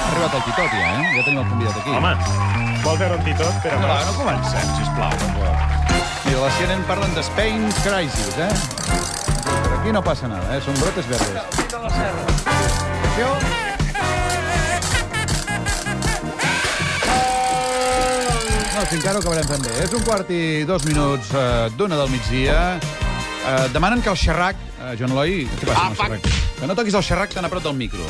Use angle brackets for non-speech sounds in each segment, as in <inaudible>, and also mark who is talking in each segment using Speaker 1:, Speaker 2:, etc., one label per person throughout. Speaker 1: arribat el Titot, ja, eh? Ja tenim el convidat aquí.
Speaker 2: Home, vols veure un titot? Espera,
Speaker 1: No,
Speaker 2: no,
Speaker 1: va, no comencem, sisplau. per favor. Mira, la CNN parlen de Spain Crisis, eh? Per aquí no passa nada, eh? Són brotes verdes. Això... No, si encara ho acabarem fent bé. És un quart i dos minuts eh, d'una del migdia. Eh, demanen que el xerrac... Eh, Joan Eloi, què passa amb el xerrac? Que no toquis el xerrac tan a prop del micro,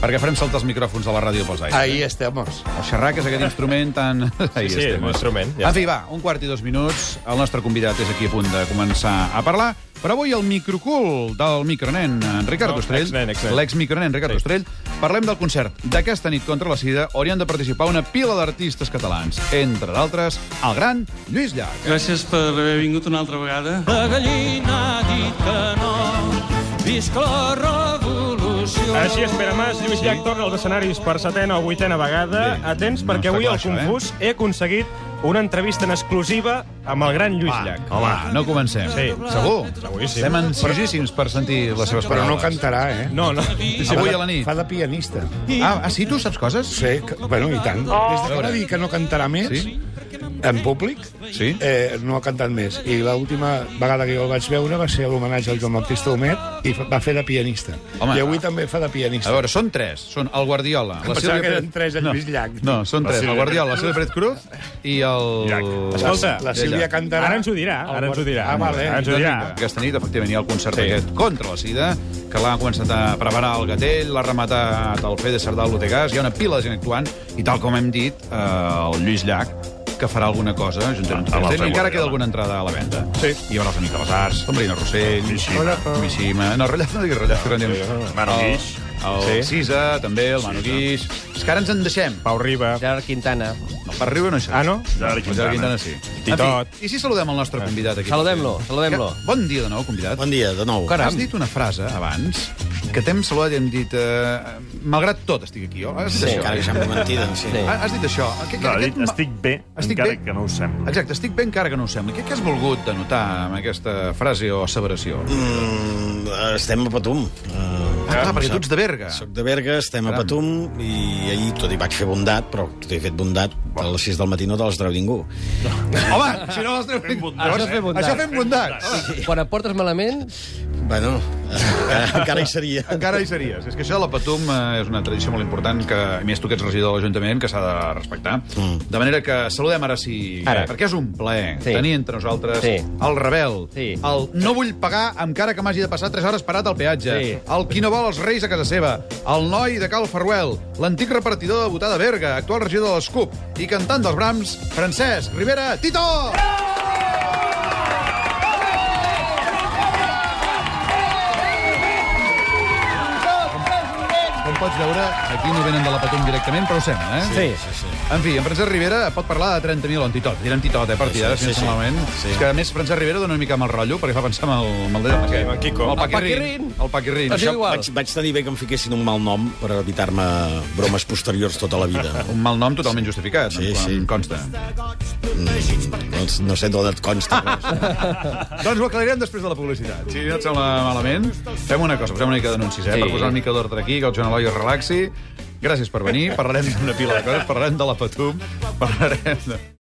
Speaker 1: perquè farem saltar els micròfons de la ràdio pels aires.
Speaker 3: Ahí estamos.
Speaker 1: El xerrac és aquest instrument tan... Ahí
Speaker 2: sí,
Speaker 1: estem. eh?
Speaker 2: un instrument, ja
Speaker 1: en fi, va, un quart i dos minuts. El nostre convidat és aquí a punt de començar a parlar. Però avui el microcul del micronen, en Ricard
Speaker 2: No,
Speaker 1: Ostrell.
Speaker 2: exnen, exnen.
Speaker 1: L'ex-micronen, Ricard
Speaker 2: Sí.
Speaker 1: Ostrell. Parlem del concert d'aquesta nit contra la sida, on hi han de participar una pila d'artistes catalans. Entre d'altres, el gran Lluís Llach.
Speaker 4: Gràcies per haver vingut una altra vegada. La gallina ha dit que no, visca la revolució.
Speaker 2: Així és, Pere Mas, Lluís Llach torna als escenaris per setena o vuitena vegada.
Speaker 1: Bé,
Speaker 2: Atents,
Speaker 1: no
Speaker 2: perquè
Speaker 1: està
Speaker 2: avui
Speaker 1: clar,
Speaker 2: al
Speaker 1: això, eh?
Speaker 2: Confús he aconseguit una entrevista en exclusiva amb el gran Lluís Llach.
Speaker 1: va, no comencem.
Speaker 2: Sí.
Speaker 1: Segur?
Speaker 2: Seguríssim.
Speaker 1: Estem ansiosíssims per sentir les seves
Speaker 3: Però
Speaker 1: paraules.
Speaker 3: no cantarà, eh?
Speaker 2: No, no.
Speaker 1: Avui a la nit.
Speaker 3: Fa de pianista.
Speaker 1: Ah, ah, sí? Tu saps coses?
Speaker 3: Sí, que, bueno, i tant. Des de que va dir que no cantarà més,
Speaker 1: Sí.
Speaker 3: en públic,
Speaker 1: Sí?
Speaker 3: eh, no ha cantat més. I l'última vegada que jo el vaig veure va ser a l'homenatge al Joan Baptista Homet i fa- va fer de pianista.
Speaker 1: Home,
Speaker 3: I avui
Speaker 1: va.
Speaker 3: també fa de
Speaker 1: A
Speaker 3: pianista.
Speaker 1: veure, són tres. Són el Guardiola, la
Speaker 3: pensava que eren tres en Lluís Llach.
Speaker 1: No, són tres.
Speaker 3: Sílvia
Speaker 1: El Guardiola, la Sílvia Pérez Cruz i el...
Speaker 3: La-
Speaker 2: Escolta,
Speaker 3: la Sílvia
Speaker 1: Llach.
Speaker 3: cantarà...
Speaker 2: Ara ens ho dirà, ara ens ho dirà.
Speaker 3: Ah, vale.
Speaker 2: Ara ens ho dirà.
Speaker 1: Aquesta nit, efectivament, hi ha el concert
Speaker 2: Sí.
Speaker 1: sí. aquest contra la sida, que l'ha començat a preparar el Gatell, l'ha rematat el Fede Cerdà al Lotegàs, hi ha una pila de gent actuant, i tal com hem dit, eh, el Lluís Llach, que farà alguna cosa, juntament amb el Gatell, i encara queda alguna entrada a la venda.
Speaker 2: Sí.
Speaker 1: Hi haurà els Amics de les Arts, la Marina Rossell, Mishima, Mishima... No, Rellaf no diguis Rellaf, que no diguis.
Speaker 2: Manu
Speaker 1: El-
Speaker 2: Guix.
Speaker 1: El
Speaker 2: Sí.
Speaker 1: Sisa, també, el Manu Guix... És que ara ens en deixem.
Speaker 2: Pau Riba.
Speaker 5: Gerard Quintana.
Speaker 1: No, per riure no hi Doncs serà.
Speaker 2: Ah, no?
Speaker 1: Gerard Quintana. Gerard Quintana, sí.
Speaker 2: Titot.
Speaker 1: En fi, I si saludem el
Speaker 2: Ah.
Speaker 1: nostre convidat aquí?
Speaker 5: Saludem-lo, saludem-lo.
Speaker 1: Bon dia de nou, convidat.
Speaker 6: Bon dia, de nou.
Speaker 1: Oh. Has dit una frase abans que t'hem saludat i hem dit... Eh, malgrat tot estic aquí, oi? Has dit
Speaker 5: Sí,
Speaker 1: això.
Speaker 6: Encara que sembla mentida, sí.
Speaker 5: Sí.
Speaker 1: Ha- Has dit això. Que, que,
Speaker 7: No,
Speaker 1: aquest
Speaker 7: dic,
Speaker 1: ma-
Speaker 7: estic bé,
Speaker 1: Estic
Speaker 7: encara
Speaker 1: bé?
Speaker 7: que no ho sembla.
Speaker 1: Exacte, estic bé encara que no ho sembli. Què, què has volgut denotar amb aquesta frase o asseveració?
Speaker 6: Mm, estem a Patum. Uh,
Speaker 1: Ah, clar, perquè tu ets de Berga.
Speaker 6: Soc de Berga, estem a
Speaker 1: Caram.
Speaker 6: Patum, i ahir tot hi vaig fer bondat, però tot hi he fet bondat, a les 6 del matí no te les treu ningú.
Speaker 1: Home, si no l'has treu...
Speaker 5: Això és fer bondat.
Speaker 7: eh?
Speaker 1: Això fem bondat. Home,
Speaker 5: Quan et portes malament,
Speaker 6: Bueno, eh, <laughs> encara hi seria.
Speaker 1: Encara hi series. És que això de la Patum eh, és una tradició molt important que, a més, tu que ets regidor de l'Ajuntament, que s'ha de respectar.
Speaker 6: Mm.
Speaker 1: De manera que saludem ara sí...
Speaker 5: Ara.
Speaker 1: Perquè és un plaer
Speaker 5: Sí.
Speaker 1: tenir entre nosaltres
Speaker 5: Sí.
Speaker 1: el rebel,
Speaker 5: Sí.
Speaker 1: el no vull pagar encara que m'hagi de passar 3 hores parat al peatge,
Speaker 5: Sí.
Speaker 1: el qui no vol els reis a casa seva, el noi de Cal Ferruel, l'antic repartidor de Botà de Berga, actual regidor de l'Escup i cantant dels Brams, Francesc Rivera Tito! Com pots veure, aquí no venen de la Patum directament, però ho sembla, eh?
Speaker 5: sí.
Speaker 1: En fi, en Francesc Rivera pot parlar de 30.000 on Titot. Direm Titot, eh, a partir d'ara,
Speaker 6: Sí,
Speaker 1: sí,
Speaker 6: sí,
Speaker 1: sí,
Speaker 6: sí.
Speaker 1: sí.
Speaker 6: Sí.
Speaker 1: És que, a més, Francesc Rivera dona una mica mal rotllo, perquè fa pensar en el, en el, de,
Speaker 2: Sí, amb el Kiko.
Speaker 1: El
Speaker 2: El
Speaker 1: Paquirrin.
Speaker 5: Paquirrin.
Speaker 1: El Paquirrin.
Speaker 5: Però sí,
Speaker 1: Això,
Speaker 5: igual.
Speaker 6: Vaig, vaig tenir bé que em fiquessin un mal nom per evitar-me bromes posteriors tota la
Speaker 1: <laughs>
Speaker 6: vida.
Speaker 1: un mal nom totalment justificat,
Speaker 6: Sí,
Speaker 1: em-
Speaker 6: sí.
Speaker 1: em consta.
Speaker 6: No, no sé d'on et consta. res.
Speaker 1: doncs ho aclarirem després de la publicitat. Si no et sembla malament, fem una cosa, posem una mica d'anuncis, eh?
Speaker 5: Sí.
Speaker 1: Sí. Per posar una mica d'ordre aquí, que el Joan Eloi es relaxi. Gràcies per venir. Parlarem d'una pila de coses. Parlarem de la Patum. Parlarem de...